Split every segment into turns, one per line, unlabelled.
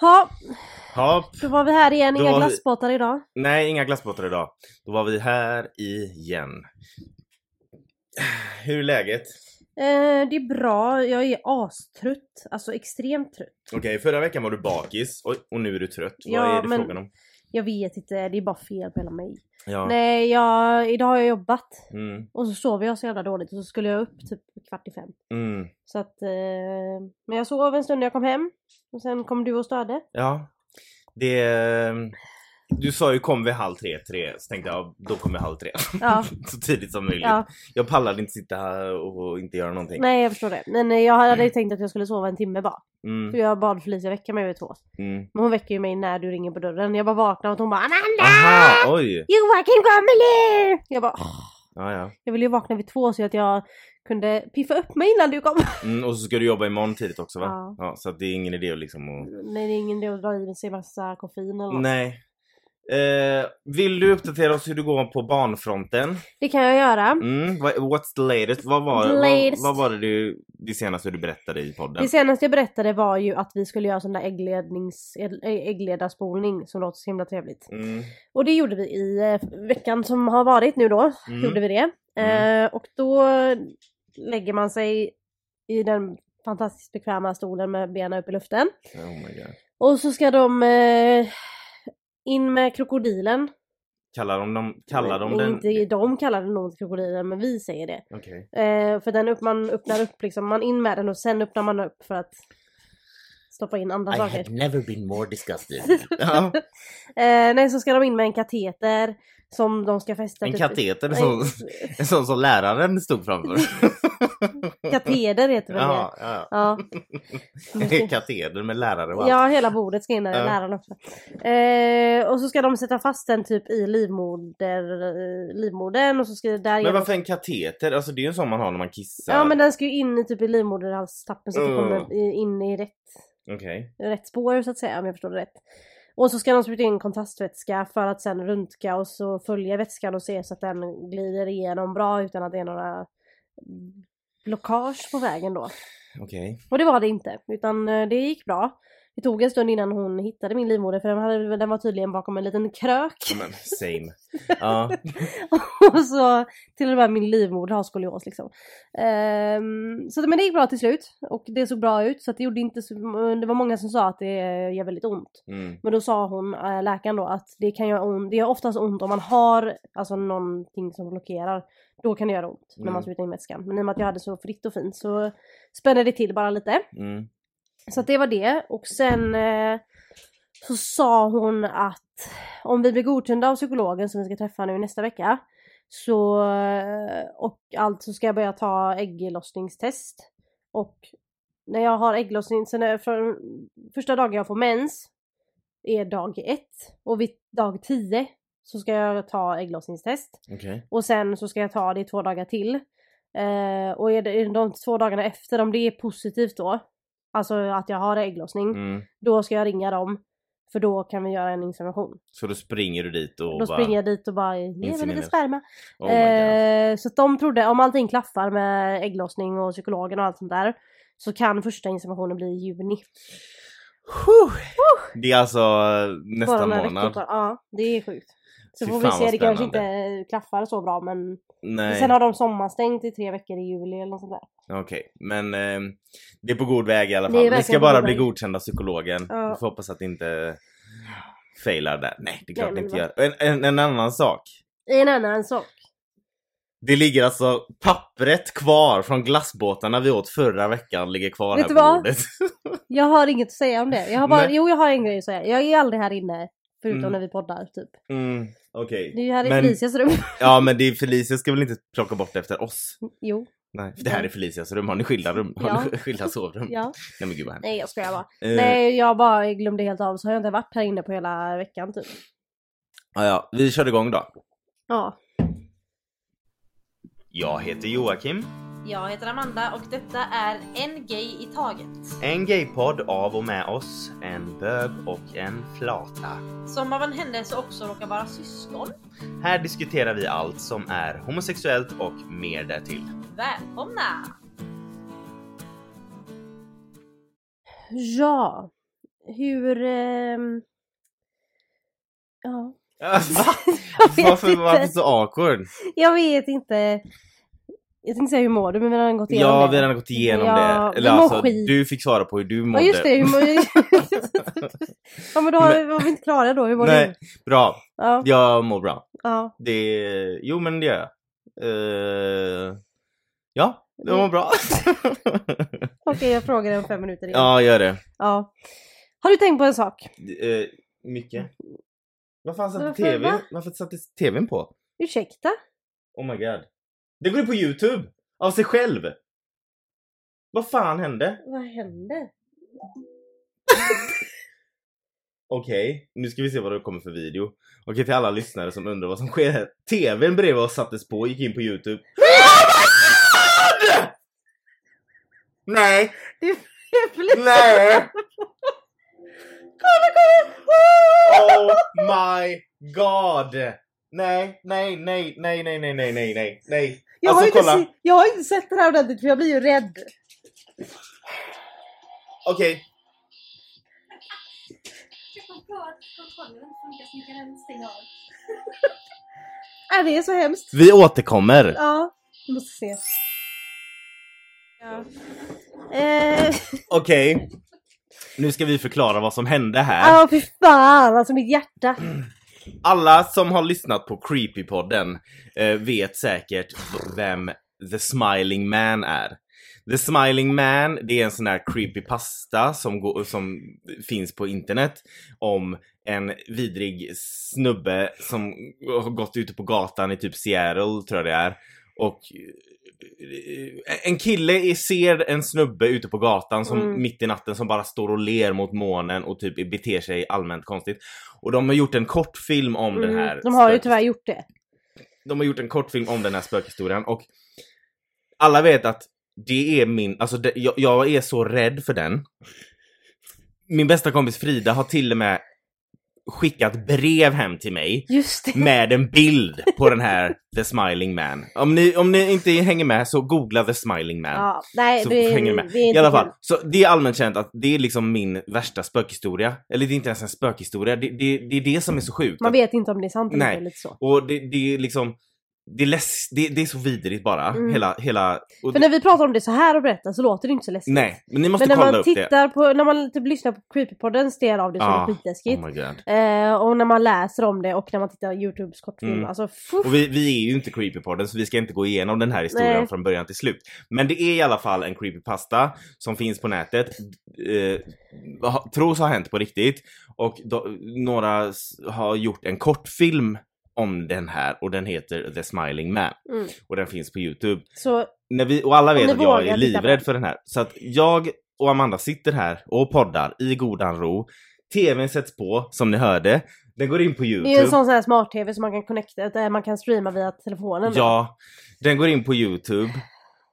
Ja,
Ja,
då var vi här igen.
Då
Inga
var vi-
glassbåtar idag.
nej inga glassbåtar idag. Då var vi här igen. Hur är läget?
Eh, det är bra. Jag är astrött. Alltså extremt trött.
Okej, förra veckan var du bakis och, och nu är du trött. Vad
Ja,
är det
men-
frågan om?
Jag vet inte, det är bara fel på hela mig.
Ja.
Nej, jag, idag har jag jobbat.
Mm,
Och så sov jag så jävla dåligt och så skulle jag upp typ kvart i fem.
mm.
Så att, eh, men jag sov en stund när jag kom hem. Och sen kom du och störde.
Ja. Det... Du sa ju kom vid halv tre, tre. Så tänkte jag, då kommer jag halv tre.
Ja,
Så tidigt som möjligt.
ja.
Jag pallade inte sitta här och inte göra någonting.
Nej jag förstår det. Men eh, jag hade ju tänkt att jag skulle sova en timme bara. För
Mm,
jag bad Felicia väcka mig vid två.
mm.
Men hon väcker ju mig när du ringer på dörren. Jag bara vaknar och hon bara Amanda!
Aha, oj!
Joakim kommer nu! Jag bara "Åh."
Ja, ja.
Jag ville ju vakna vid två så att jag kunde piffa upp mig innan du kom.
Mm, och så ska du jobba imorgon tidigt också va?
Ja.
så att det är ingen idé att liksom att...
Nej det är ingen idé att dra i sig massa koffein eller något.
Nej. Eh, vill du uppdatera oss hur det går på barnfronten?
Det kan jag göra.
Mm, vad- what's the latest? Vad var,
The latest.
Vad, vad var det, du, det senaste du berättade i podden?
Det senaste jag berättade var ju att vi skulle göra sån där ägglednings, ägg- äggledarspolning som låter så himla trevligt.
Mm,
Och det gjorde vi i eh, veckan som har varit nu då. gjorde
mm,
vi det.
Mm.
Eh, och då lägger man sig i den fantastiskt bekväma stolen med benen upp i luften.
oh my god.
Och så ska de eh, in med krokodilen.
Kallar de, dem, kallar de
Nej,
den...
Inte de kallar den nog inte krokodilen men vi säger det.
Okej.
Eh, för den upp, man öppnar upp liksom, man in med den och sen öppnar man upp för att stoppa in andra saker.
never been more disgusted. ja,
Eh, nej så ska de in med en kateter som de ska fästa
en
typ-
kateter en
Nej,
sån, en sån som läraren stod framför.
Kateder heter väl det?
ja, ja.
Ja.
En kateder med lärare och allt.
Ja, hela bordet ska in där,
Ja.
läraren också. Eh, och så ska de sätta fast den typ i livmoder, eh, livmodern och så ska det där
Men
genom-
varför en kateter? Alltså det är ju en sån man har när man kissar.
Ja men den ska ju in i typ i livmoderhalstappen så att det
Mm.
kommer i- in i rätt,
Okej.
rätt spår så att säga om jag förstår det rätt. Och så ska de spruta in kontrastvätska för att sen röntga och så följa vätskan och se så att den glider igenom bra utan att det är några blockage på vägen då.
Okej.
Och det var det inte, utan eh, det gick bra. Det tog en stund innan hon hittade min livmoder för den, hade, den var tydligen bakom en liten krök.
Ja, Men same. Ja.
och så till och med min livmoder har skolios liksom. Ehm, så att- men det gick bra till slut och det såg bra ut så att det gjorde inte så, det var många som sa att det gör väldigt ont.
Mm.
Men då sa hon, eh, läkaren då, att det kan göra ont, det gör oftast ont om man har alltså någonting som blockerar. Då kan det göra ont när
Mm.
man sprutar in vätskan. Men i och med att jag hade så fritt och fint så spände det till bara lite.
Mm.
Så att det var det och sen eh, så sa hon att om vi blir godkända av psykologen som vi ska träffa nu nästa vecka så eh, och allt så ska jag börja ta ägglossningstest och när jag har ägglossning, sen är för, första dagen jag får mens är dag ett och vid dag 10 så ska jag ta ägglossningstest
Okej.
och sen så ska jag ta det i två dagar till. Eh, och är det, är de två dagarna efter, om det är positivt då, alltså att jag har ägglossning,
Mm.
då ska jag ringa dem. För då kan vi göra en insemination.
Så då springer du dit och
då
bara...
springer jag dit och bara ge mig lite
Insemineras.
sperma.
Oh my god.
eh, så att de trodde, om allting klaffar med ägglossning och psykologen och allt sånt där, så kan första inseminationen bli i juni.
Det är alltså eh, nästa
Bara några veckor
månad.
kvar. Ja, det är sjukt. Så
Fy
får vi
fan,
se,
vad
det kanske inte
spännande.
klaffar så bra men
Nej.
sen har de sommarstängt i tre veckor i juli eller något sånt där.
Okej, men eh, det är på god väg i alla
Det är
fall. Vi
verkligen
ska
på
bara
god
bli
väg.
godkända av psykologen.
Ja.
Vi får hoppas att det inte failar där. Nej, det är klart
Nej,
det
men
inte
vad-
gör. En, en, en annan sak.
I en annan sak.
Det ligger alltså pappret kvar från glassbåtarna vi åt förra veckan ligger kvar
Vet
här
du
på
vad?
bordet.
Jag har inget att säga om det. Jag har bara,
Nej.
jo jag har en grej att säga. Jag är aldrig här inne. Förutom
Mm.
när vi poddar typ.
Mm, Okej.
Det är ju här i
Men-
Felicias rum.
Ja men det är Felicia ska väl inte plocka bort efter oss?
jo,
Nej, det här är Felicias rum. Har ni skilda rum? Har ni skilda sovrum?
ja.
Nej men gud vad hemskt.
Nej jag skojar bara.
Eh,
Nej jag bara glömde helt av så har jag inte varit här inne på hela veckan typ.
ja, ja, vi kör igång då.
Ja.
Jag heter Joakim.
Jag heter Amanda och detta är En Gay i Taget.
En gaypodd av och med oss, en bög och en flata.
Som av en händelse också råkar vara syskon.
Här diskuterar vi allt som är homosexuellt och mer därtill.
Välkomna! Ja, Hur... ehm, ja.
Va?
Jag vet
Varför,
inte.
varför så awkward?
Jag vet inte. Jag tänkte säga hur mår du men vi har redan gått igenom
Ja,
det.
vi har redan gått igenom
Ja,
det. Eller
vi mår
alltså,
skit.
du fick svara på hur du mådde.
Ja just det, hur mår Ja men då har vi, var vi inte klara då, hur mår
Nej,
du?
bra.
Ja,
Jag mår bra.
ja.
Det... Jo, men det gör jag. Eh, Ja, jag mår bra.
Okej jag frågar dig om fem minuter igen.
ja, gör det.
Ja. Har du tänkt på en sak?
Eh, mycket. Vad fan satte
Varför,
TV?
va?
Varför satte TVn på?
Ursäkta?
Oh my god. Det går ju på Youtube! Av sig själv! Vad fan hände?
Vad hände?
Okej, nu ska vi se vad det kommer för video. Okej, till alla lyssnare som undrar vad som sker här. TVn bredvid oss sattes på, gick in på Youtube. Nej,
Jag blev-
nej!
kolla kolla!
Oh my god! Nej, nej, nej, nej, nej, nej, nej, nej, nej, nej.
Jag, har
Alltså,
inte
kolla.
se, jag har inte sett den här ordentligt för jag blir ju rädd.
Okej,
Jag kom på att kontrollen inte funkar så mycket den stänger av.
Äh, det är så hemskt.
vi återkommer.
Ja, vi måste se. Ja.
Äh.
Eh,
Okej. Nu ska vi förklara vad som hände här.
ja, fy fan alltså mitt hjärta.
Alla som har lyssnat på Creepypodden eh, vet säkert vem The Smiling Man är. The Smiling Man, det är en sån här creepypasta som, går, som finns på internet om en vidrig snubbe som har gått ute på gatan i typ Seattle, tror jag det är. Och eh, en kille är- ser en snubbe ute på gatan som
Mm.
mitt i natten som bara står och ler mot månen och typ beter sig allmänt konstigt. Och de har gjort en kortfilm om den här.
Mm, de har ju
spökhistorien.
tyvärr gjort det.
De har gjort en kortfilm om den här spökhistorien och alla vet att det är min, alltså det, jag, jag är så rädd för den. Min bästa kompis Frida har till och med skickat brev hem till mig
Just det.
med en bild på den här The Smiling Man. Om ni, om ni inte hänger med så googla The Smiling Man.
Ja, nej,
Så
det,
hänger du med.
det är
I
inte
alla fall,
kul.
så det är allmänt känt att det är liksom min värsta spökhistoria. Eller det är inte ens en spökhistoria, det, det, det är det som är så sjukt.
Man
Att-
vet inte om det är sant eller
Nej.
inte. Lite så.
och det, det är liksom, det är, läs, det, det är så vidrigt bara.
Mm.
Hela, hela... Och,
För när vi pratar om det så här och berättar så låter det inte så läskigt.
nej, men ni måste
Men när
kolla
man
upp det.
tittar på, när man typ lyssnar på Creepypoddens del av det så är
Ja.
det skitläskigt.
Oh my god.
Eh, och när man läser om det och när man tittar på Youtubes kortfilm.
Mm.
Alltså, fuff.
Och vi, vi är ju inte Creepypodden så vi ska inte gå igenom den här historien
Nej.
från början till slut. Men det är i alla fall en creepypasta som finns på nätet, eh, ha- tros ha hänt på riktigt. Och då, några s- har gjort en kortfilm om den här och den heter The Smiling Man
Mm.
och den finns på Youtube.
Så
när vi, och alla vet
ni
att jag
vågar
är
titta på
livrädd för den här. Så att jag och Amanda sitter här och poddar i godan ro. TVn sätts på, som ni hörde. Den går in på
det är ju en
Youtube.
sån, sån här smart-tv som man kan connecta, där man kan streama via telefonen.
Ja, den går in på Youtube.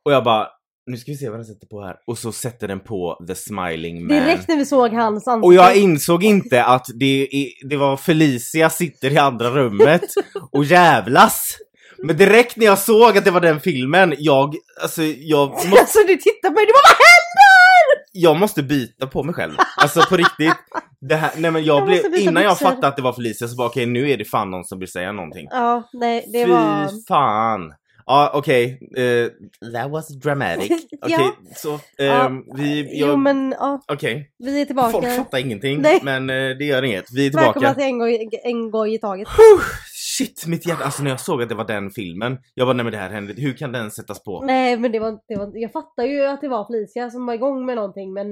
Och jag bara, nu ska vi se vad den sätter på här. Och så sätter den på The Smiling Man.
Direkt när vi såg hans ansikte.
Och jag insåg inte att det, är- det var Felicia sitter i andra rummet och jävlas. Men direkt när jag såg att det var den filmen, jag, alltså jag måste
Alltså du tittar på mig, du bara vad händer?
jag måste bita på mig själv. Alltså på riktigt. Det här, nej men jag,
Jag måste
blev,
byta
innan jag
byxor.
fattade att det var Felicia så bara okej nu är det fan någon som vill säga någonting.
"Ah!" Ja, nej det
Fy
var...
fan. Ja okej, eh, that was dramatic. Okej,
Ja.
så ehm,
Ja.
vi,
Jo
jag,
men ja,
okej.
vi är tillbaka.
Folk fattar ingenting
Nej.
men eh, det gör inget. Vi är
Välkomna
tillbaka.
till en gång, en gång i taget.
Huh, shit mitt hjärta, alltså när jag såg att det var den filmen, jag bara nej men det här hände, hur kan den sättas på?
Nej men det var, det var Jag fattar ju att det var Felicia som var igång med någonting men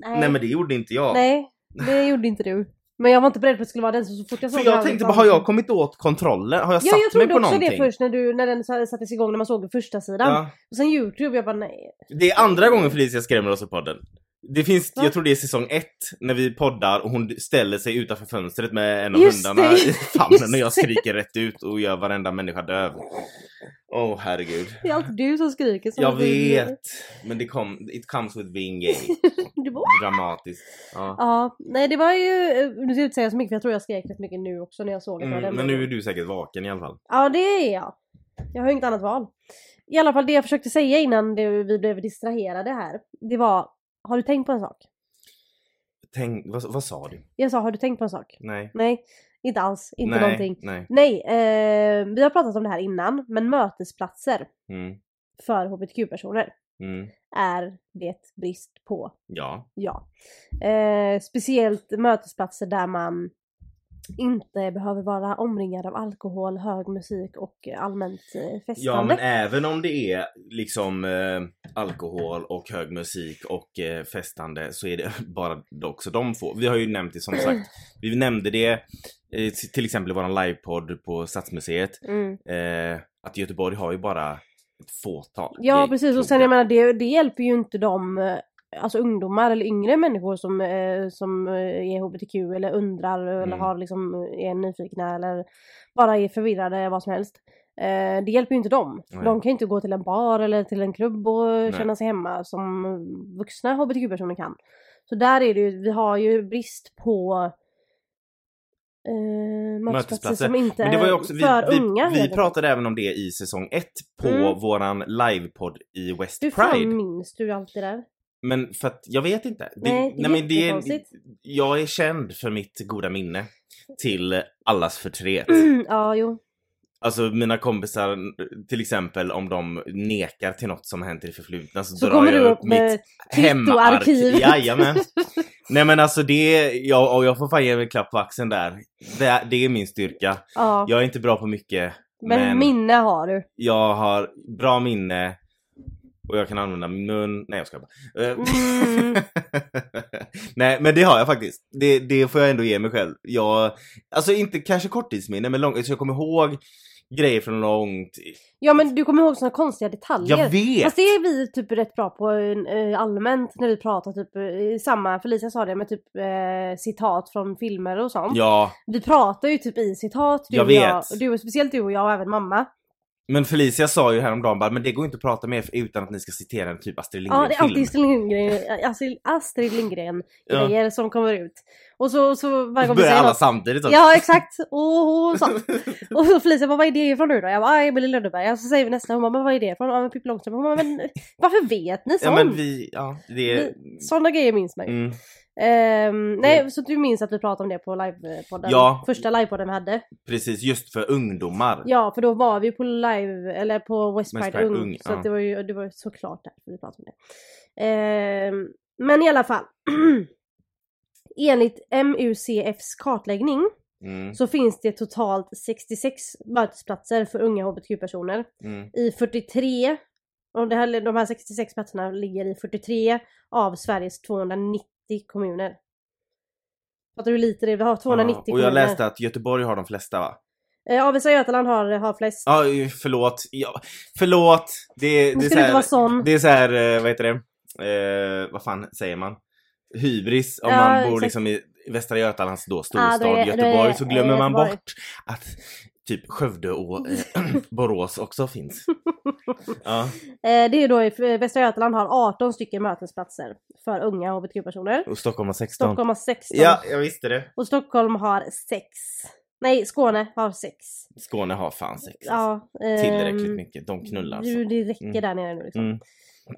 nej.
Nej, men det gjorde inte jag.
Nej, det gjorde inte du. Men jag var inte beredd på att det skulle vara den så, så fort jag såg
För jag
hans
tänkte bara, har jag
ansikte-
kommit åt kontrollen? Har jag
Ja jag
satt mig
trodde
på
också
någonting?
det först när, du, när den så- sattes igång när man såg första sidan.
Ja.
Och sen Youtube, jag bara nej.
Det är andra gången Felicia skrämmer oss i podden. Det finns,
Va?
jag tror det är säsong ett, när vi poddar och hon ställer sig utanför fönstret med en av
Just
hundarna
det,
i famnen och jag
just det.
skriker rätt ut och gör varenda människa döv. Åh oh, herregud.
Det är alltid du som skriker. Som
Jag
en idiot.
vet, men det kom, it comes with being gay.
Du bara,
Dramatiskt. Ja.
Ja, nej det var ju, eh, nu ska jag inte säga så mycket för jag tror jag skrek rätt mycket nu också när jag såg att det var den.
Mm, men nu är du säkert vaken i alla fall.
Ja det är jag. Jag har ju inget annat val. I alla fall det jag försökte säga innan det, vi blev distraherade här, det var, har du tänkt på en sak?
tänk, vad, vad sa du?
Jag sa, har du tänkt på en sak?
Nej.
Nej, inte alls. Inte
nej,
någonting.
Nej.
Nej, eh, vi har pratat om det här innan, men mötesplatser
Mm,
för hbtq-personer
mm,
är det brist på,
ja.
ja. Eh, speciellt mötesplatser där man inte behöver vara omringad av alkohol, hög musik och allmänt eh,
Ja
festande.
men även om det är liksom eh, alkohol och hög musik och eh, festande så är det bara också de få. Vi har ju nämnt det som sagt, vi nämnde det eh, till exempel i våran livepodd på Stadsmuseet
mm.
eh, att Göteborg har ju bara ett fåtal.
ja
gay-
precis och sen jag menar det, det hjälper ju inte de eh, Alltså ungdomar eller yngre människor som, eh, som eh, är hbtq eller undrar eller
Mm.
har liksom, är nyfikna eller bara är förvirrade vad som helst. Eh, det hjälper ju inte dem.
Nej.
De kan ju inte gå till en bar eller till en klubb och känna
Nej.
sig hemma som vuxna hbtq-personer kan. Så där är det ju, vi har ju brist på eh, mötesplatser som inte
Men det var ju
är
också, vi,
för
vi,
unga. helt
vi
enkelt.
pratade även om det i säsong 1 på
Mm.
våran livepodd i West
Hur
Pride.
fan minns du allt det där?
Men för att jag vet inte. Det,
Nej, det är jättekonstigt.
jag är känd för mitt goda minne till allas förtret.
ja, jo.
Alltså mina kompisar, till exempel om de nekar till något som hänt i det förflutna så,
Så
drar
kommer
jag
du
upp
upp med
mitt hemarkiv.
kvittoarkivet.
Jajamän. Nej men alltså det, jag, och jag får fan ge mig en klapp på axeln där. Det, det är min styrka.
Ja,
Jag är inte bra på mycket.
men, minne har du.
jag har bra minne och jag kan använda min mun. Nej jag ska bara. Eh,
Mm.
Nej men det har jag faktiskt. Det, det får jag ändå ge mig själv. Jag, alltså inte kanske korttidsminne men lång, så jag kommer ihåg grejer från långt.
Ja, men du kommer ihåg såna konstiga detaljer.
Jag vet!
Fast det är vi typ rätt bra på eh, allmänt när vi pratar typ eh, samma, Felicia sa det med typ eh, citat från filmer och sånt.
Ja,
Vi pratar ju typ i citat, du
Jag
och jag,
vet.
och du, speciellt du och jag och även mamma.
men Felicia sa ju häromdagen bara, men det går inte att prata med er utan att ni ska citera en typ Astrid
Ja, det är alltid Astrid
Lindgren-film.
Lindgren, Astrid, Astrid Lindgren
Ja.
grejer som kommer ut. Och så, så varje gång vi
börjar
säger
alla
något.
samtidigt så.
Ja exakt, och, och sånt. Och så Felicia bara, vad är det ifrån nu då? Jag bara, ah, Emil i Lönneberga. Och så säger vi nästa, hon bara, men vad är det ifrån? Ja men Pippi Långstrump. Hon bara, men varför vet ni sånt?
ja men vi, ja det är...
Sådana grejer minns man ju.
Mm.
Ehm, nej, så du minns att vi pratade om det på livepodden?
Ja.
Första livepodden vi hade.
Precis, just för ungdomar.
Ja, för då var vi på live, eller på West
West
Pride,
Pride
Ung.
Ung,
så
ja.
att det var ju det var ju såklart därför vi pratade om det. Ehm, men i alla fall. Enligt MUCFs kartläggning
Mm,
så finns det totalt 66 mötesplatser för unga hbtq-personer
mm,
i 43, och det här, de här 66 platserna ligger i 43 av Sveriges 290 kommuner. Fattar du hur lite det är? Vi har 290
Ja, och jag
kommuner.
läste att Göteborg har de flesta va?
Eh, ja, Västra Götaland har, har flest.
Ja, eh, förlåt. Ja, förlåt. Det,
Nu
det, är
ska
så
du inte vara
här,
sån.
det är så här, eh, vad heter det? Eh, vad fan säger man? Hybris. Om
Ja,
man bor
exakt.
liksom i Västra Götalands då
Ah,
storstad
då är- då
Göteborg
är-
så glömmer man
Göteborg.
bort att typ Skövde och eh, Borås också finns. Ja,
Eh, det är då i eh, Västra Götaland har 18 stycken mötesplatser för unga hbtq-personer.
och Stockholm har 16.
Stockholm har 16.
Ja, jag visste det.
Och Stockholm har 6. Nej, Skåne har 6.
Skåne har fan sex.
Ja, ehm,
Tillräckligt mycket. De knullar. Alltså.
du, Det räcker
Mm.
där nere nu liksom.
Mm.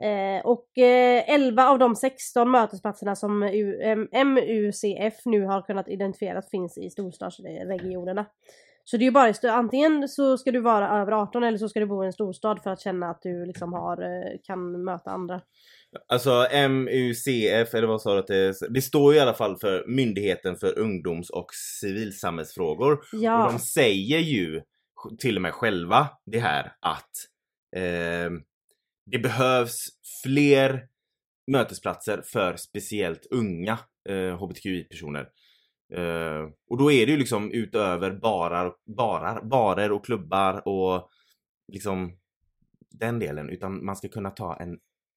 Eh, och eh, 11 av de 16 mötesplatserna som U- M- MUCF nu har kunnat identifiera finns i storstadsregionerna. Så det är ju bara, i stö- antingen så ska du vara över 18 eller så ska du bo i en storstad för att känna att du liksom har, eh, kan möta andra.
Alltså MUCF eller vad sa du att det Det står ju i alla fall för Myndigheten för ungdoms och civilsamhällsfrågor. Och
Ja,
de säger ju sj- till och med själva det här att eh, det behövs fler mötesplatser för speciellt unga eh, hbtqi-personer. Eh, och då är det ju liksom utöver barar, barar, barer och klubbar och liksom den delen. Utan man ska kunna ta en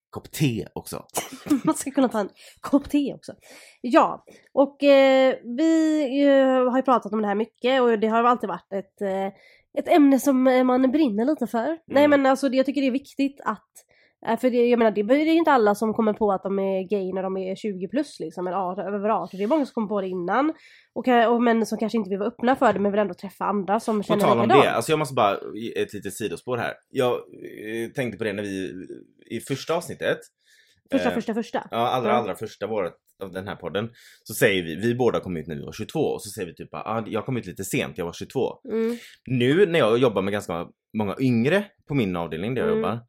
kopp te också.
man ska kunna ta en kopp te också. Ja, och eh, vi eh, har ju pratat om det här mycket och det har alltid varit ett, eh, ett ämne som eh, man brinner lite för. Nej
Mm.
men alltså det, jag tycker det är viktigt att eh, för det, jag menar det är ju inte alla som kommer på att de är gay när de är 20 plus liksom, eller 18, över 18. Det är många som kommer på det innan. Och, ka- och män som kanske inte vill vara öppna för det men vill ändå träffa andra som
På
känner
tal om
likadant.
det, alltså jag måste bara ge ett litet sidospår här. Jag eh, tänkte på det när vi i första avsnittet.
Första,
eh,
första, första.
Ja, allra,
Ja.
allra första vårt av den här podden så säger vi, vi båda kom ut när vi var 22 och så säger vi typ bara, ah, jag kom ut lite sent, jag var 22.
Mm.
Nu när jag jobbar med ganska många yngre på min avdelning där jag
Mm.
jobbar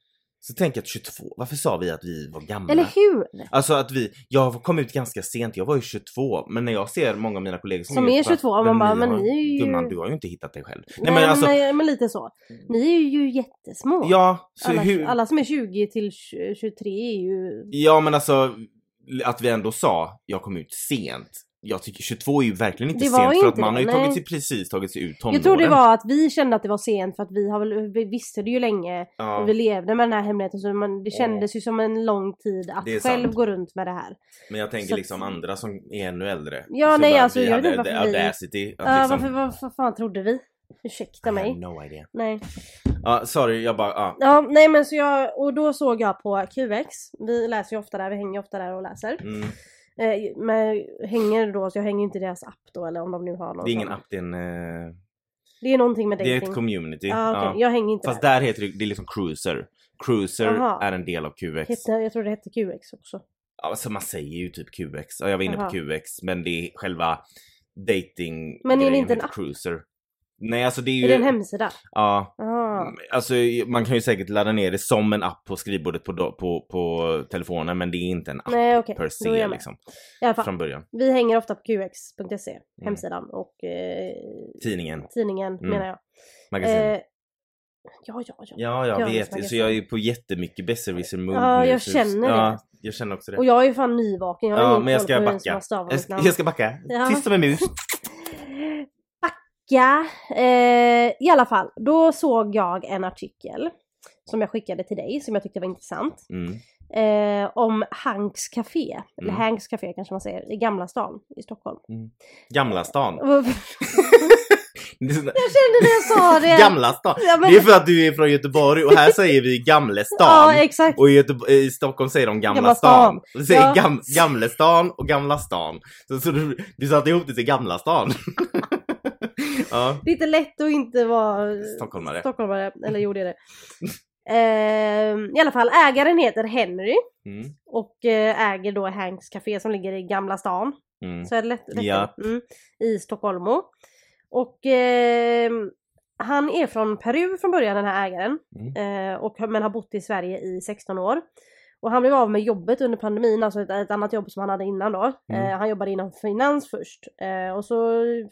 så tänker jag att 22, varför sa vi att vi var gamla?
Eller hur?
Alltså att vi, jag kom ut ganska sent, jag var ju 22 men när jag ser många av mina kollegor som,
Som
ut,
är 22, man bara, men
har-
ni är ju-
Gumman, du har ju inte hittat dig själv. Nej,
Nej,
men alltså,
nej, men lite så. Ni är ju jättesmå.
ja, så
alla,
hur,
alla som är 20 till 20 23 är ju...
ja men alltså att vi ändå sa, jag kom ut sent. Jag tycker 22 är ju verkligen inte
Det var
sent för
inte
att man
det,
har ju
nej.
tagit sig, precis tagit sig ur tonåren.
Jag tror det var att vi kände att det var sent för att vi, har väl, vi visste det ju länge
Ja.
och vi levde med den här hemligheten så man, det kändes ju som en lång tid att
Det är
själv
sant.
gå runt med det här.
Men jag tänker
Så att-
liksom andra som är ännu äldre.
Ja, nej, alltså,
vi
jag
hade
vet inte
the
varför vi-
audacity att
Ja,
liksom...
varför, varför fan trodde vi? Ursäkta
I had
mig.
no idea.
Nej.
Ja, sorry, jag bara, ja.
Ja, nej men så jag, och då såg jag på QX, vi läser ju ofta där, vi hänger ju ofta där och läser.
Mm.
Eh, men hänger då, så jag hänger inte i deras app då eller om de nu har någon.
Det är ingen
sån.
app, det är en... eh,
Det är någonting med
Det är
dating.
ett community.
ja, okej.
Ja.
Jag hänger inte
Fast
där.
där heter det, det är liksom cruiser. Cruiser
Aha.
är en del av QX.
Hette, jag tror det hette QX också.
Ja, Alltså man säger ju typ QX. Ja, jag var inne
Aha.
på QX men det är själva dating
Men är det
grejen
inte en
heter
app?
Cruiser. Nej alltså det är ju...
Är det en hemsida? Ah.
Ja.
Aha.
Alltså man kan ju säkert ladda ner det som en app på skrivbordet på, do- på, på telefonen men det är inte en app
Nej okej,
per
då är
se
jag med.
liksom.
I alla fall,
Från Mm. början.
vi hänger ofta på qx.se, E, hemsidan och eh,
Tidningen,
tidningen
Mm.
menar jag.
magasinet.
Eh, ja, ja, ja.
Ja, jag
Björnes
vet. Så
magasin.
jag är på jättemycket besserwisser mood
Ja,
nu,
jag
så-
känner
ja,
det.
Jag känner också det.
Och jag är ju fan nyvaken, jag har
Ja,
ingen
men jag
koll
ska
på hur
backa.
ens man stavar
Jag
mitt
ska,
namn.
jag ska backa.
Ja.
Tyst som en mus.
Ja, eh, i alla fall. Då såg jag en artikel som jag skickade till dig som jag tyckte var intressant.
Mm.
Eh, om Hanks Café, eller
Mm.
Hanks Café kanske man säger, i Gamla stan i Stockholm.
Gamla stan.
jag
Jag
kände när jag sa det!
Gamla stan.
Ja, men-
Det är för att du är från Göteborg och här säger vi Gamle stan.
Ja, exakt.
och i, Göteborg, i Stockholm säger de Gamla,
Gamla
stan.
stan.
De säger
Ja.
gam, Gamle stan och Gamla stan. Så, så du, du satte ihop det till Gamla stan. ja.
Det är inte lätt att inte vara
Stockholmare.
stockholmare eller jo, det är det. Ehm, I alla fall, ägaren heter Henry
Mm.
och eh, äger då Hanks Café som ligger i Gamla stan.
Mm.
Så är det lätt, lätt
Ja.
mm, I Stockholmo. Och ehm, han är från Peru från början den här ägaren.
Mm.
Eh, och, men har bott i Sverige i 16 år. Och han blev av med jobbet under pandemin, alltså ett, ett annat jobb som han hade innan då.
Mm.
Eh, han jobbade inom finans först. Eh, och så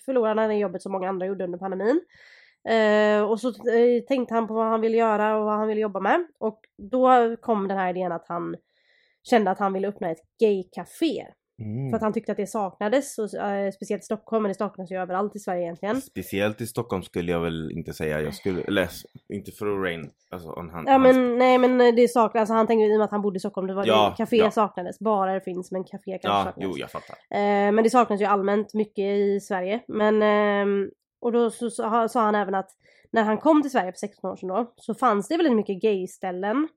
förlorade han det jobbet som många andra gjorde under pandemin. Eh, och så eh, tänkte han på vad han ville göra och vad han ville jobba med. Och då kom den här idén att han kände att han ville öppna ett gaycafé.
Mm.
För att han tyckte att det saknades, och, eh, speciellt i Stockholm, men det saknas ju överallt i Sverige egentligen.
Speciellt i Stockholm skulle jag väl inte säga. Jag skulle, eller inte för att rain, alltså on hand,
Ja men nej men eh, det saknas, alltså, han tänkte ju i och med att han bodde i Stockholm, det var
Ja,
det, café
ja.
saknades, barer finns men café kanske
Ja,
saknas.
jo jag fattar.
Eh, men det saknas ju allmänt mycket i Sverige. Men, ehm, och då så, så, ha- sa han även att när han kom till Sverige för 16 år sedan då, så fanns det väldigt mycket gayställen.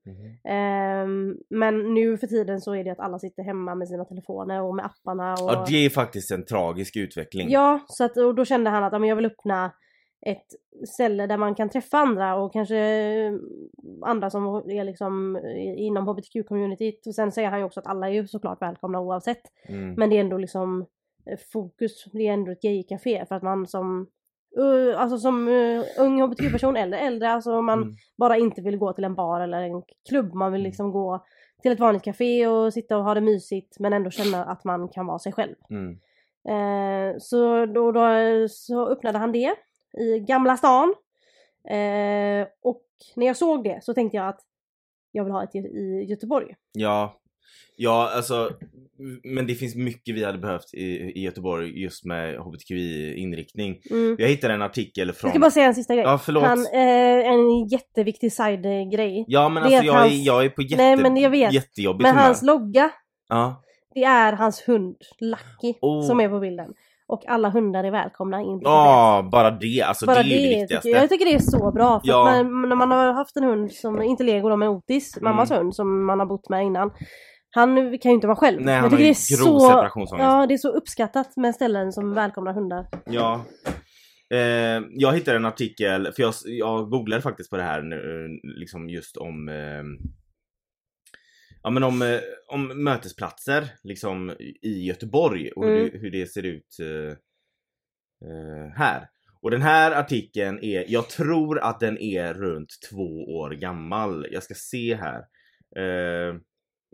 Ehm, men nu för tiden så är det att alla sitter hemma med sina telefoner och med apparna och...
Ja det är faktiskt en tragisk utveckling.
Ja, så att, och då kände han att ja, men jag vill öppna ett ställe där man kan träffa andra och kanske eh, andra som är liksom eh, inom hbtq-communityt. Och sen säger han ju också att alla är ju såklart välkomna oavsett.
Mm.
Men det är ändå liksom eh, fokus, det är ändå ett gay-café för att man som eh, alltså som eh, ung hbtq-person eller äldre, alltså om man
Mm.
bara inte vill gå till en bar eller en klubb. Man vill liksom gå till ett vanligt café och sitta och ha det mysigt men ändå känna att man kan vara sig själv.
Mm.
Eh, så då, då så öppnade han det i Gamla stan. Eh, och när jag såg det så tänkte jag att jag vill ha ett i- i Göteborg.
Ja. Ja alltså, men det finns mycket vi hade behövt i, i Göteborg just med hbtqi-inriktning.
Mm.
Jag hittade en artikel
Jag
från...
ska bara säga en sista grej.
Ja förlåt.
Han, eh, en jätteviktig side-grej.
Ja men
det
alltså
är
jag,
hans-
är, jag är på jätte...
Nej, men jag vet.
jättejobbigt
Men
humör.
hans logga,
Ja.
det är hans hund Lucky
Oh.
som är på bilden. Och alla hundar är välkomna in på kaféet.
Ja, bara det. Alltså det är ju det viktigaste.
tycker jag, jag tycker det är så bra. För
Ja.
att när, när man har haft en hund som, inte Lego då, men Otis, mammas
Mm.
hund som man har bott med innan. Han kan ju inte vara själv.
Nej
jag
han har
tycker
ju
det
grov liksom.
är så
separationsångest.
Ja, det är så uppskattat med ställen som välkomnar hundar.
Ja. Eh, jag hittade en artikel, för jag, jag googlade faktiskt på det här nu, eh, liksom just om eh, ja, men om, eh, om mötesplatser liksom i Göteborg och
Mm.
hur, det, hur det ser ut eh, eh, här. Och den här artikeln är, jag tror att den är runt två år gammal. Jag ska se här. Eh,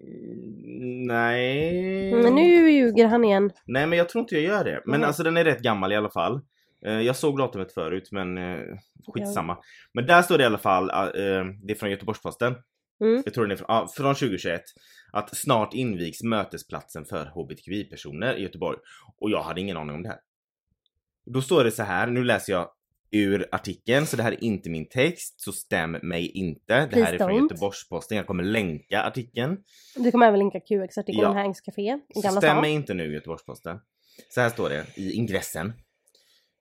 mm, nej.
Men nu ljuger han igen.
Nej men jag tror inte jag gör det. Men
Nej.
alltså den är rätt gammal i alla fall. Eh, jag såg datumet förut men eh, skitsamma. Men där står det i alla fall, eh, eh, det är från Göteborgs-Posten.
Mm.
Jag tror den är från, ja, från 2021. Att snart invigs mötesplatsen för hbtqi-personer i Göteborg. Och jag hade ingen aning om det här. Då står det så här, nu läser jag ur artikeln, så det här är inte min text, så stäm mig inte. Det här
Please
är från
don't.
Göteborgs-Posten, jag kommer länka artikeln.
Du kommer även linka QX-artikeln
Ja.
om Hanks Café i
Så
Gamla
stäm
stan.
mig inte nu Göteborgs-Posten. Så här står det i ingressen.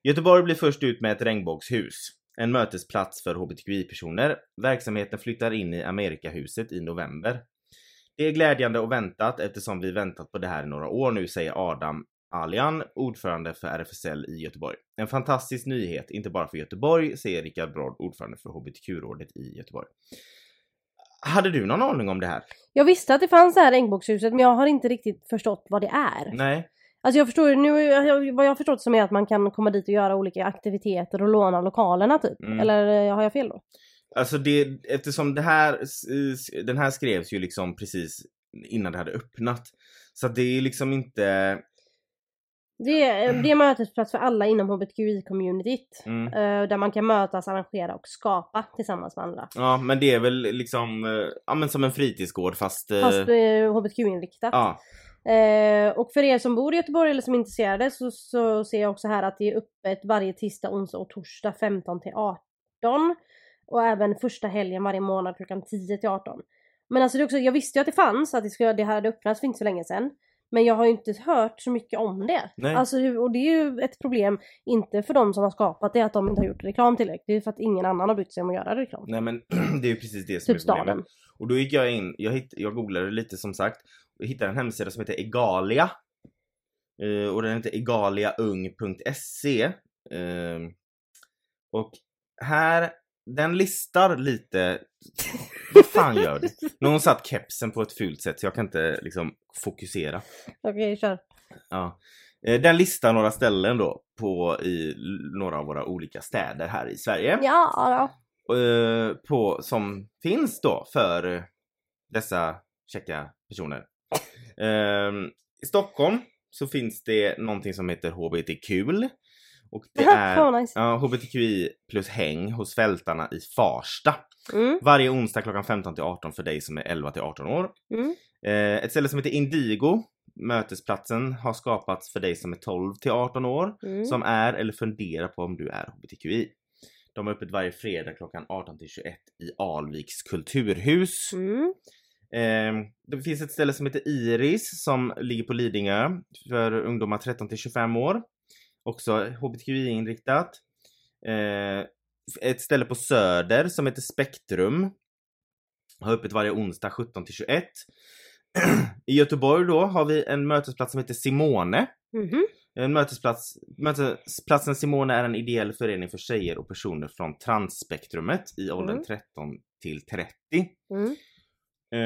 Göteborg blir först ut med ett regnbågshus. En mötesplats för hbtqi-personer. Verksamheten flyttar in i Amerikahuset i november. Det är glädjande och väntat eftersom vi väntat på det här i några år nu, säger Adam Alian, ordförande för RFSL i Göteborg. En fantastisk nyhet, inte bara för Göteborg, säger Rickard Brodd, ordförande för hbtq-rådet i Göteborg. Hade du någon aning om det här?
Jag visste att det fanns det här regnbågshuset men jag har inte riktigt förstått vad det är.
Nej.
Alltså jag förstår ju nu, jag- vad jag har förstått som är att man kan komma dit och göra olika aktiviteter och låna lokalerna typ.
Mm.
Eller eh, har jag fel då?
Alltså det, eftersom det här, s- den här skrevs ju liksom precis innan det hade öppnat. Så att det är liksom inte...
Det är, det är en mötesplats för alla inom hbtqi-communityt.
Mm.
eh, Där man kan mötas, arrangera och skapa tillsammans med andra.
Ja men det är väl liksom, eh, ja men som en fritidsgård fast... eh,
Fast eh, hbtq-inriktat.
ja.
Eh, och för er som bor i Göteborg eller som är intresserade så, så ser jag också här att det är öppet varje tisdag, onsdag och torsdag 15 till 18. Och även första helgen varje månad klockan 10 till 18. Men alltså det är också, jag visste ju att det fanns, att det, skulle, det hade öppnats för inte så länge sedan. Men jag har ju inte hört så mycket om det.
Nej.
Alltså, hur- och det är ju ett problem, inte för de som har skapat det, att de inte har gjort reklam tillräckligt. Det är ju för att ingen annan har brytt sig om att göra reklam.
Nej men det är ju precis det som
Typ
är problemet.
staden.
Och då gick jag in, jag, hitt, jag googlade lite som sagt och hittade en hemsida som heter Egalia. Eh, och den heter egaliaung.se. Eh, och här, den listar lite... Vad fan gör du? Någon satt kepsen på ett fult sätt så jag kan inte liksom fokusera.
Okej, kör.
Ja. Eh, Den listar några ställen då på i l- några av våra olika städer här i Sverige.
Ja, ja.
Eh, på, som finns då för eh, dessa käcka personer. Ehm, I Stockholm så finns det någonting som heter HBTQ. Och det
Fan
är
vad nice.
ja, HBTQI plus häng hos Fältarna i Farsta.
Mm,
Varje onsdag klockan 15 till 18 för dig som är 11 till 18 år.
mm.
Eh, ett ställe som heter Indigo, mötesplatsen, har skapats för dig som är 12 till 18 år
Mm.
som är eller funderar på om du är hbtqi. De är öppet varje fredag klockan 18 till 21 i Alviks kulturhus.
Mm.
Ehm, det finns ett ställe som heter Iris som ligger på Lidingö för ungdomar 13 till 25 år. Också hbtqi-inriktat. Ehm, ett ställe på Söder som heter Spektrum. Har öppet varje onsdag 17 till 21. I Göteborg då har vi en mötesplats som heter Simone.
Mhm.
En Eh, mötesplats, mötesplatsen Simone är en ideell förening för tjejer och personer från transspektrumet i åldern
Mm.
13 till 30.
Mm.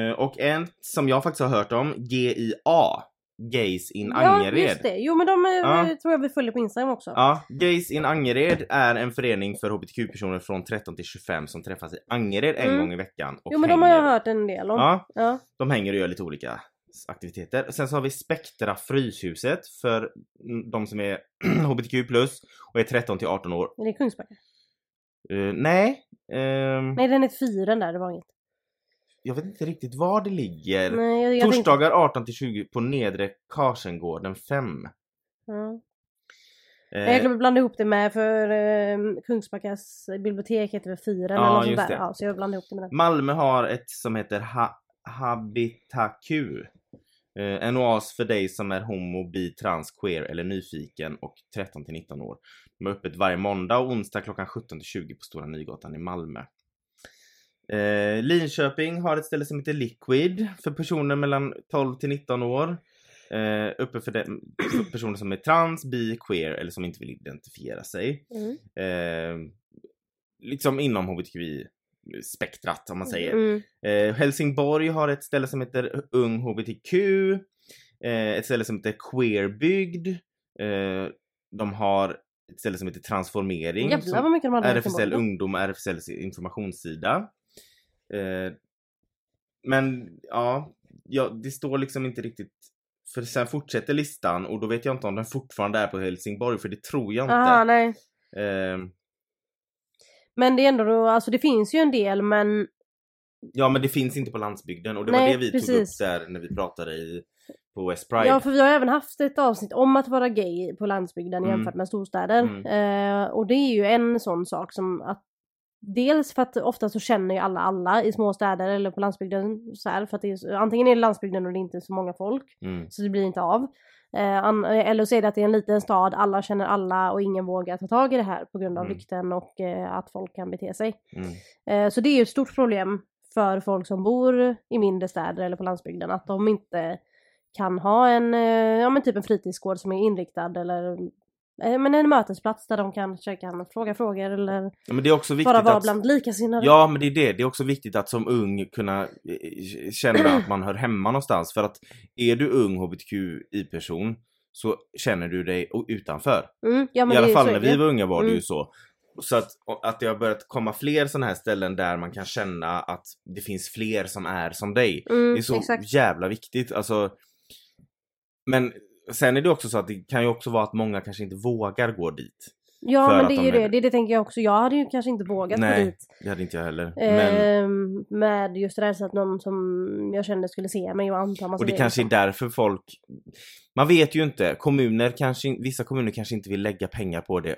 Eh, och en som jag faktiskt har hört om, GIA, Gays in
Ja,
Angered.
just det. Jo men de eh,
Ja.
tror jag vi följer på Instagram också.
Ja, Gays in Angered är en förening för hbtq-personer från 13 till 25 som träffas i Angered en
Mm.
gång i veckan. Och
jo men de har jag
hänger.
hört en del om. Ja.
Ja, de hänger och gör lite olika aktiviteter. Sen så har vi Spektra Fryshuset för mm, de som är hbtq plus och är 13 till 18 år
Är det Kungsbacka?
Eh, nej. Ehm,
Nej den är fyren där, det var inget.
Jag vet inte riktigt var det ligger.
Nej, jag, jag tänkte-
Torsdagar 18 till 20 på Nedre Karsengården 5.
Ja.
Eh,
Jag glömde blanda ihop det med för eh, Kungsbackas bibliotek heter väl Fyren
Ja,
eller något sånt där.
just det.
Ja, så jag blandade ihop det med den.
Malmö har ett som heter ha- HabitaQ. Eh, en oas för dig som är homo, bi, trans, queer eller nyfiken och 13 till 19 år. De är öppet varje måndag och onsdag klockan 17 till 20 på Stora Nygatan i Malmö. Eh, Linköping har ett ställe som heter Liquid för personer mellan 12 till 19 år. Eh, uppe för, dem- för personer som är trans, bi, queer eller som inte vill identifiera sig
Mm.
eh, liksom inom hbtqi spektrat om man säger.
Mm.
Eh, Helsingborg har ett ställe som heter Ung HBTQ, eh, ett ställe som heter Queerbygd, eh, de har ett ställe som heter Transformering,
Jävlar
som
vad mycket de hade i
RFSL
Helsingborg.
Ungdom och RFSLs informationssida. Eh, men ja, ja, det står liksom inte riktigt för sen fortsätter listan och då vet jag inte om den fortfarande är på Helsingborg för det tror jag inte.
Aha, Ah, nej.
Eh,
Men det är ändå, då- alltså det finns ju en del men
ja men det finns inte på landsbygden och det var
Nej,
det vi tog upp
precis.
där när vi pratade i, på West Pride.
Ja, för vi har även haft ett avsnitt om att vara gay på landsbygden
Mm.
jämfört med storstäder. Eh, och det är ju en sån sak som att Dels för att ofta så känner ju alla alla i småstäder eller på landsbygden. Så här, för att det är, så- antingen är det landsbygden och det är inte så många folk,
Mm.
så det blir inte av. Eh, an, eller så är det att det är en liten stad, alla känner alla och ingen vågar ta tag i det här på grund av
Mm.
vikten och eh, att folk kan bete sig.
Mm.
Eh, Så det är ju ett stort problem för folk som bor i mindre städer eller på landsbygden att de inte kan ha en, eh, ja men typ en fritidsgård som är inriktad eller eh, men en mötesplats där de kan kanske kan fråga frågor eller
Ja, men det är också viktigt
bara vara
att...
bland likasinnade.
Ja men det är det, det är också viktigt att som ung kunna eh, känna att man hör hemma någonstans för att är du ung hbtqi-person så känner du dig o- utanför.
mm, ja men
I alla
det är
fall
så
när
är det.
vi var unga var det ju
Mm.
så. Så att, och att det har börjat komma fler sådana här ställen där man kan känna att det finns fler som är som dig.
mm,
Det är så
Exakt.
jävla viktigt alltså. Men sen är det också så att det kan ju också vara att många kanske inte vågar gå dit.
Ja
för
men
att
det är
de
ju
är
det,
det.
det, det tänker jag också. Jag hade ju kanske inte vågat
Nej,
gå dit.
Det hade inte jag heller. Men...
Ehm, med just det där så att någon som jag kände skulle se mig och anta massa
Och det
grejer
kanske är
liksom.
därför folk... Man vet ju inte. Kommuner kanske, vissa kommuner kanske inte vill lägga pengar på det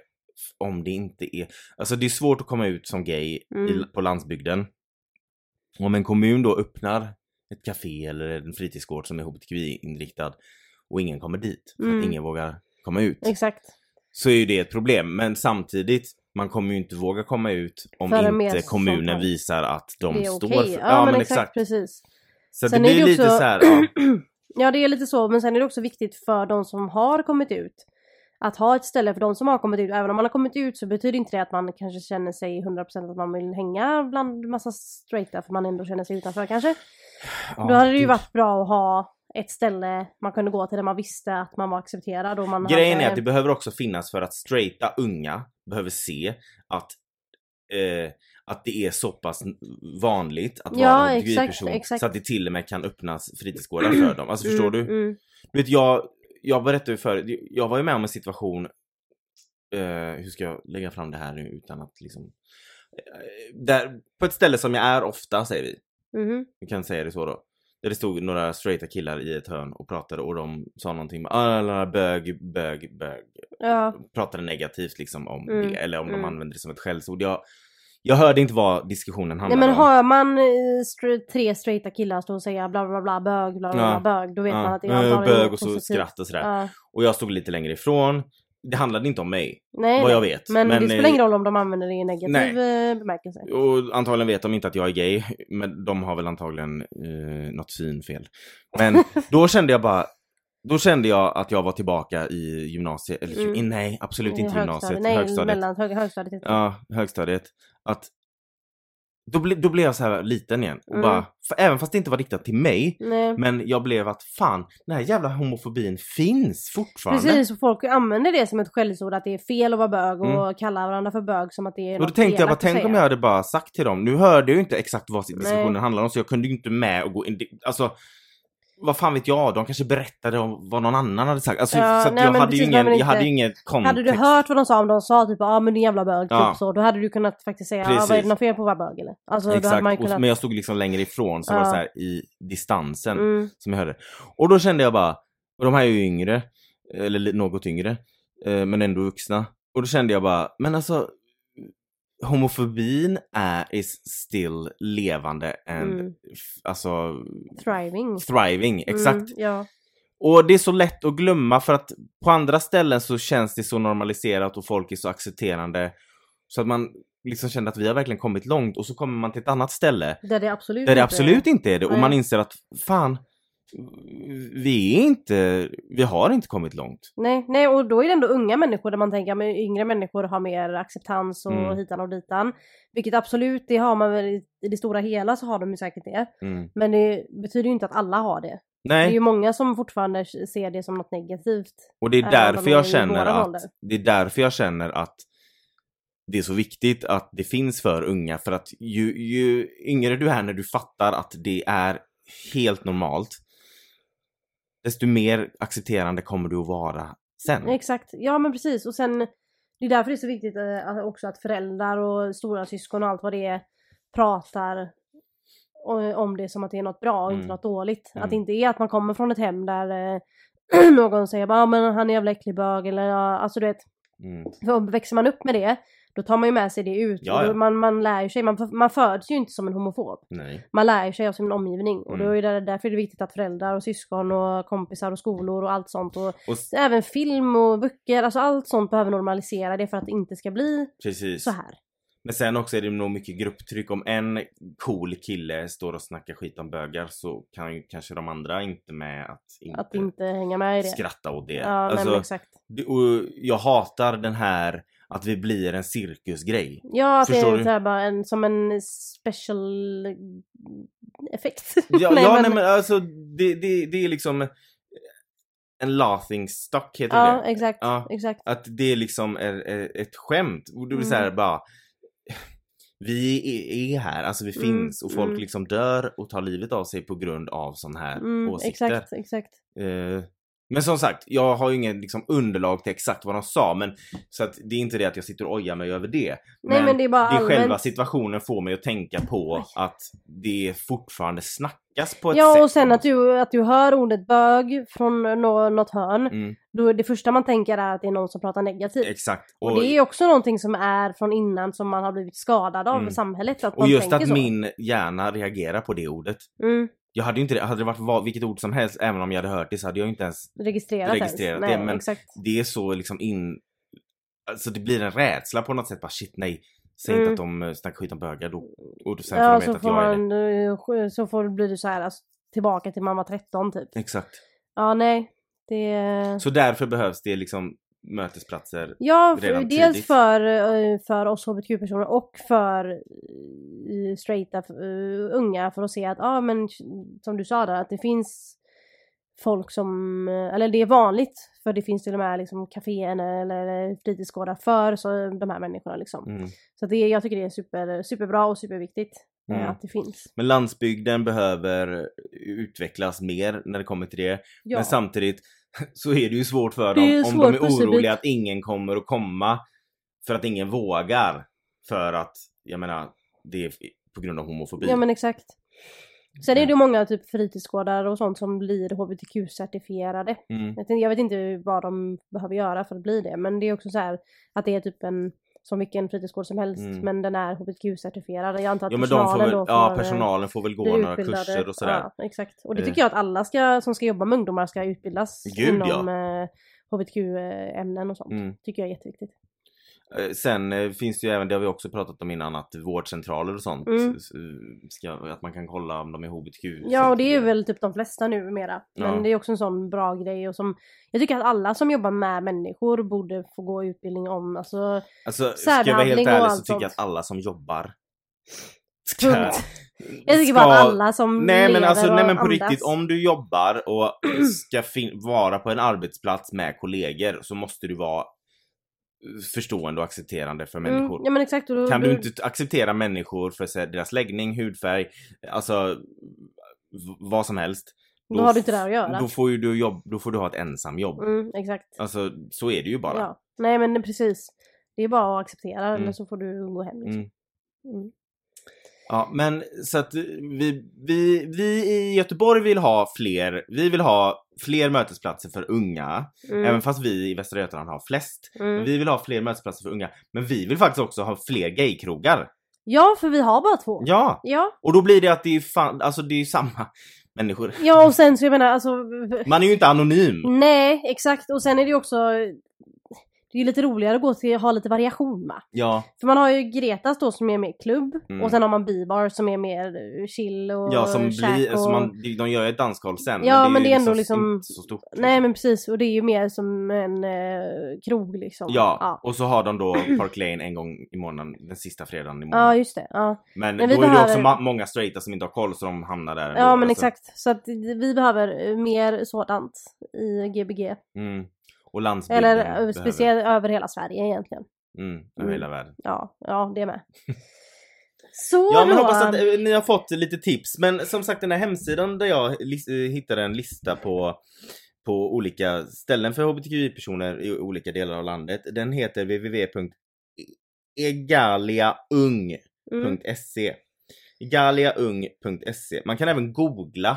om det inte är... Alltså det är svårt att komma ut som gay i,
Mm.
på landsbygden. Om en kommun då öppnar ett café eller en fritidsgård som är hbtqi-inriktad och ingen kommer dit, för att
Mm.
ingen vågar komma ut,
Exakt.
så är ju det ett problem. Men samtidigt, man kommer ju inte våga komma ut om
Förrän mer
inte kommunen
sånt här.
visar att de
det är
står
okej.
för...
Ja, men exakt, precis.
Så att det
Sen är
blir
det
lite
också-
så här, ja.
Ja det är lite så men sen är det också viktigt för de som har kommit ut att ha ett ställe för de som har kommit ut. Även om man har kommit ut så betyder inte det att man kanske känner sig 100% att man vill hänga bland massa straighta för man ändå känner sig utanför kanske.
ja,
Då hade det ju
gud.
varit bra att ha ett ställe man kunde gå till där man visste att man var accepterad och man
Grejen
hade...
är att det behöver också finnas för att straighta unga behöver se att, eh, att det är så pass n- vanligt att
Ja,
vara en
exakt,
hbtqi-person
exakt.
så att det till och med kan öppnas fritidsgårdar för dem. Alltså förstår
Mm,
du?
mm.
du vet, jag, jag berättade ju förut, jag var ju med om en situation, eh, hur ska jag lägga fram det här nu utan att liksom... Eh, där, på ett ställe som jag är ofta säger vi,
mhm.
vi kan säga det så då. Där det stod några straighta killar i ett hörn och pratade och de sa någonting med ah, bög, bög, bög
Ja,
pratade negativt liksom om
Mm,
det eller om de
mm.
använde det som ett skällsord. Jag, jag hörde inte vad diskussionen
nej
handlade
men
om.
hör man eh, stra- tre straighta killar stå och säga bla bla bla bög, bla bla,
Ja.
bla bög, då vet man att det är
Ja, Eh,
antagligen
Ah, bög
något
och så
positivt.
skratt och sådär.
Ja.
Och jag stod lite längre ifrån. Det handlade inte om mig,
Nej,
vad
nej.
jag vet.
Men, det spelar
eh,
ingen roll om de använder det i negativ eh, bemärkelse.
Och antagligen vet de inte att jag är gay, men de har väl antagligen eh, något synfel. Men då kände jag bara, då kände jag att jag var tillbaka i gymnasiet, eller
Mm.
i- nej absolut
I
inte gymnasiet,
Nej,
högstadiet.
mellan hög, högstadiet. heter det.
Ja, högstadiet. Att då, ble, då blev jag så här liten igen och
Mm.
bara, för, även fast det inte var riktat till mig,
Nej.
men jag blev att fan, den här jävla homofobin finns fortfarande.
Precis, och folk använder det som ett skällsord att det är fel att vara bög och kallar varandra för bög som att det är
Mm. Och då
något
tänkte jag bara,
elakt att
tänk om jag
säga.
hade bara sagt till dem, nu hörde jag ju inte exakt vad diskussionen
Nej.
handlade om så jag kunde ju inte med och gå in, Det- alltså vad fan vet jag, de kanske berättade om vad någon annan hade sagt. Alltså,
Ja,
så att
nej,
jag,
men
hade ju
precis,
ingen,
nej, men
jag hade ju
inte-
ingen kontext.
Hade du hört vad de sa om de sa typ ja ah, men din jävla bög
Ja.
typ så, då hade du kunnat faktiskt säga ah,
Precis.
vad är det något fel på att vara bög eller? Alltså då hade
Exakt,
man ju
och-
kunnat...
men jag stod liksom längre ifrån så
Ja.
var det så här i distansen.
Mm,
som jag hörde. Och då kände jag bara, och de här är ju yngre, eller li- något yngre, eh, men ändå vuxna. Och då kände jag bara, men alltså homofobin är is still levande and
mm.
f- alltså
Thriving.
thriving, exakt.
Mm, ja.
Och det är så lätt att glömma för att på andra ställen så känns det så normaliserat och folk är så accepterande så att man liksom känner att vi har verkligen kommit långt och så kommer man till ett annat ställe
Där det absolut
där det
inte-
absolut inte är det och
Nej.
man inser att fan, vi är inte, vi har inte kommit långt.
Nej, nej, och då är det ändå unga människor där man tänker att yngre människor har mer acceptans och
Mm.
hitan och ditan. Vilket absolut, det har man väl i i det stora hela så har de ju säkert det.
Mm.
Men det betyder ju inte att alla har det. Det är
Nej,
ju många som fortfarande ser det som något negativt.
och det är
Ja,
därför
de är
jag
i
känner
våran
att,
ålder.
det är därför jag känner att det är så viktigt att det finns för unga för att ju, ju yngre du är när du fattar att det är helt normalt desto mer accepterande kommer du att vara sen.
Exakt, ja men precis. Och sen, det är därför det är så viktigt eh, att- också att föräldrar och stora syskon och allt vad det är pratar o- om det som att det är något bra och
Mm.
inte något dåligt.
Mm.
Att det inte är att man kommer från ett hem där eh, någon säger bara ah, men han är jävla äcklig bög eller ja, alltså du vet.
Mm.
För om- växer man upp med det då tar man ju med sig det ut.
Ja,
Och då-
ja.
Man, man lär ju sig, man, f- man föds ju inte som en homofob.
Nej.
Man lär ju sig av sin omgivning och då
Mm.
är det därför är det viktigt att föräldrar och syskon och kompisar och skolor och allt sånt och
Och s-
Även film och böcker, alltså allt sånt behöver normalisera det för att det inte ska bli
precis.
så här.
Men sen också är det nog mycket grupptryck. Om en cool kille står och snackar skit om bögar så kan ju kanske de andra inte med att inte,
Att inte hänga med i det.
skratta åt det.
Ja, nej, men
alltså,
exakt.
det- och jag hatar den här att vi blir en cirkusgrej.
Ja, att det
förstår
är
du?
så här bara en, som en special effekt.
Ja, nej, ja, men... Nej, men alltså det, det, det är liksom en laughing stock heter
ja,
det.
exakt.
Ja.
Exakt.
Att det liksom är, är ett skämt. Och det är så här
Mm.
bara vi är- är här, alltså vi
Mm,
finns och folk
mm.
liksom dör och tar livet av sig på grund av sån här
Mm,
åsikter.
exakt, exakt.
Eh, men som sagt, jag har ju ingen liksom, underlag till exakt vad de sa men så att det är inte det att jag sitter och ojar mig över det.
Nej, men det är bara allmänt.
själva situationen får mig att tänka på att det fortfarande snackas på ett sätt.
Ja, och sen att du, att du hör ordet bög från nå- något hörn.
Mm,
Då är det första man tänker är att det är någon som pratar negativt.
exakt.
och, det är också någonting som är från innan som man har blivit skadad av
Mm.
samhället. Att
och
man
just
tänker
att
så.
min hjärna reagerar på det ordet.
Mm.
Jag hade ju inte det, hade det varit vad, vilket ord som helst även om jag hade hört det så hade jag inte ens,
registrerat,
Registrerat
ens. Nej,
det, men-
exakt.
det är så liksom in, alltså det blir en rädsla på något sätt bara shit nej, säg
Mm.
inte att de eh, snackar skit om bögar då, och sen får
Ja,
de
så
veta att
får
jag är
man, eh, så får, blir du så här alltså, tillbaka till man var 13 typ.
det. Exakt.
Ja, nej. Det...
Så därför behövs det liksom mötesplatser.
Ja, för,
redan
dels
tidigt.
för, eh, för oss hbtq-personer och för eh, straighta eh, unga för att se att, ja men som du sa där, att det finns folk som, eh, eller det är vanligt, för det finns till och med liksom kaféer eller fritidsgårdar för så, de här människorna liksom.
Mm.
Så det, jag tycker det är super, superbra och superviktigt eh,
Mm.
att det finns.
Men landsbygden behöver utvecklas mer när det kommer till det.
Ja.
Men samtidigt så är det ju svårt för
Det
dem
är en
om de
svår
är
pusselbit.
oroliga att ingen kommer att komma. För att ingen vågar. För att, jag menar, det är på grund av homofobi.
Ja men exakt. Sen är det ju många typ fritidsgårdar och sånt som blir hbtq-certifierade.
Mm.
Jag tänkte- Jag vet inte vad de behöver göra för att bli det men det är också så här att det är typ en som vilken fritidsgård som helst
Mm.
men den är hbtq-certifierad. Jag antar att
Ja men de får
personalen
väl,
då
ja
får, eh,
personalen får väl gå
bli
några
utbildade.
kurser och sådär.
Ja, exakt. Och det
Eh.
tycker jag att alla ska, som ska jobba med ungdomar ska utbildas
Gud, ja.
inom eh, hbtq-ämnen och sånt.
Mm.
Tycker jag är jätteviktigt.
Eh, Sen eh, finns det ju även, det har vi också pratat om innan, att vårdcentraler och sånt,
Mm.
s- s- ska, att man kan kolla om de är hbtq.
Ja och det är väl typ de flesta numera. Men
Ja.
det är också en sån bra grej och som Jag tycker att alla som jobbar med människor borde få gå utbildning om alltså
Alltså ska jag vara
Särbehandling
helt
och
ärlig
allt
så tycker jag
sånt.
att alla som jobbar ska...
punkt. Jag tycker bara att alla som
Nej men
lever
alltså
och
nej men på
andas.
riktigt om du jobbar och ska fin- vara på en arbetsplats med kollegor så måste du vara eh, förstående och accepterande för människor.
Mm, ja men exakt. Och då,
Kan du inte t- acceptera människor för så här, deras läggning, hudfärg, alltså v- vad som helst.
Då har du inte det här att göra.
Då får ju du jobb, då får du ha ett ensamjobb.
Mm, exakt.
Alltså så är det ju bara.
Ja. Nej men precis. Det är bara att acceptera eller
Mm.
så får du gå hem. Liksom.
Mm.
Mm.
Ja, men så att vi, vi, vi i Göteborg vill ha fler, vi vill ha fler mötesplatser för unga.
Mm.
Även fast vi i Västra Götaland har flest.
Mm.
Vi vill ha fler mötesplatser för unga. Men vi vill faktiskt också ha fler gaykrogar.
Ja för vi har bara två.
Ja!
Ja,
Och då blir det att det är fan, alltså det är ju samma människor.
ja och sen så jag menar alltså
Mm. Man är ju inte anonym.
Nej, exakt. Och sen är det ju också... Det är ju lite roligare att gå till, ha lite variation med.
Ja,
För man har ju Gretas då som är mer klubb
Mm.
och sen har man Bibar som är mer eh, chill och
ja som
käk
blir,
och...
så man, de gör ju ett dansgolv sen.
Ja, men
ju
det är ändå liksom-
inte så stort.
Nej men precis och det är ju mer som en eh, krog liksom.
Ja, och så har de då Park Lane en gång i månaden, den sista fredagen i månaden.
Ja, just det. Ja,
men
men vi
då är det också
behöver-
ma- många straighta som inte har koll så de hamnar där. ändå,
ja men
alltså.
exakt. Så att vi behöver eh, mer sådant i Gbg.
Mm. Och landsbygden
Eller eh,
behöver-
speciellt över hela Sverige egentligen.
Mm, över
Mm.
hela världen.
Ja, ja det med. Så
Ja men
då.
hoppas att eh, ni har fått lite tips. Men som sagt den här hemsidan där jag lis- eh, hittade en lista på, på olika ställen för hbtqi-personer i olika delar av landet. Den heter www.egaliaung.se
Mm.
Galiaung.se. Man kan även googla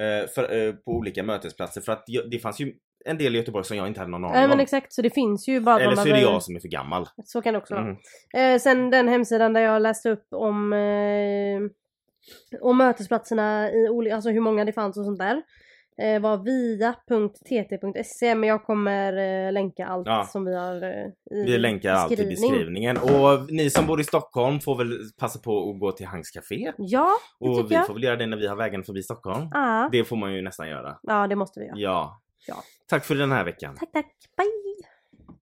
eh, för, eh, på olika mötesplatser för att jag, det fanns ju en del i Göteborg som jag inte hade någon aning
Nej men
om.
exakt så det finns ju bara att
Eller
man
så är det
behöver-
jag som är för gammal.
Så kan det också vara.
Mm.
Eh, sen den hemsidan där jag läste upp om, eh, om mötesplatserna, i olika, alltså hur många det fanns och sånt där. Eh, var via.tt.se e, men jag kommer eh, länka allt
Ja.
som vi har eh, i
Vi länkar allt i beskrivningen. Och ni som bor i Stockholm får väl passa på att gå till Hangs Café.
Ja, det
Och
tycker
vi
jag.
får väl göra det när vi har vägen förbi Stockholm.
Ah,
Det får man ju nästan göra.
ja, det måste vi göra.
Ja.
Ja.
Tack för den här veckan.
Tack, tack. Bye!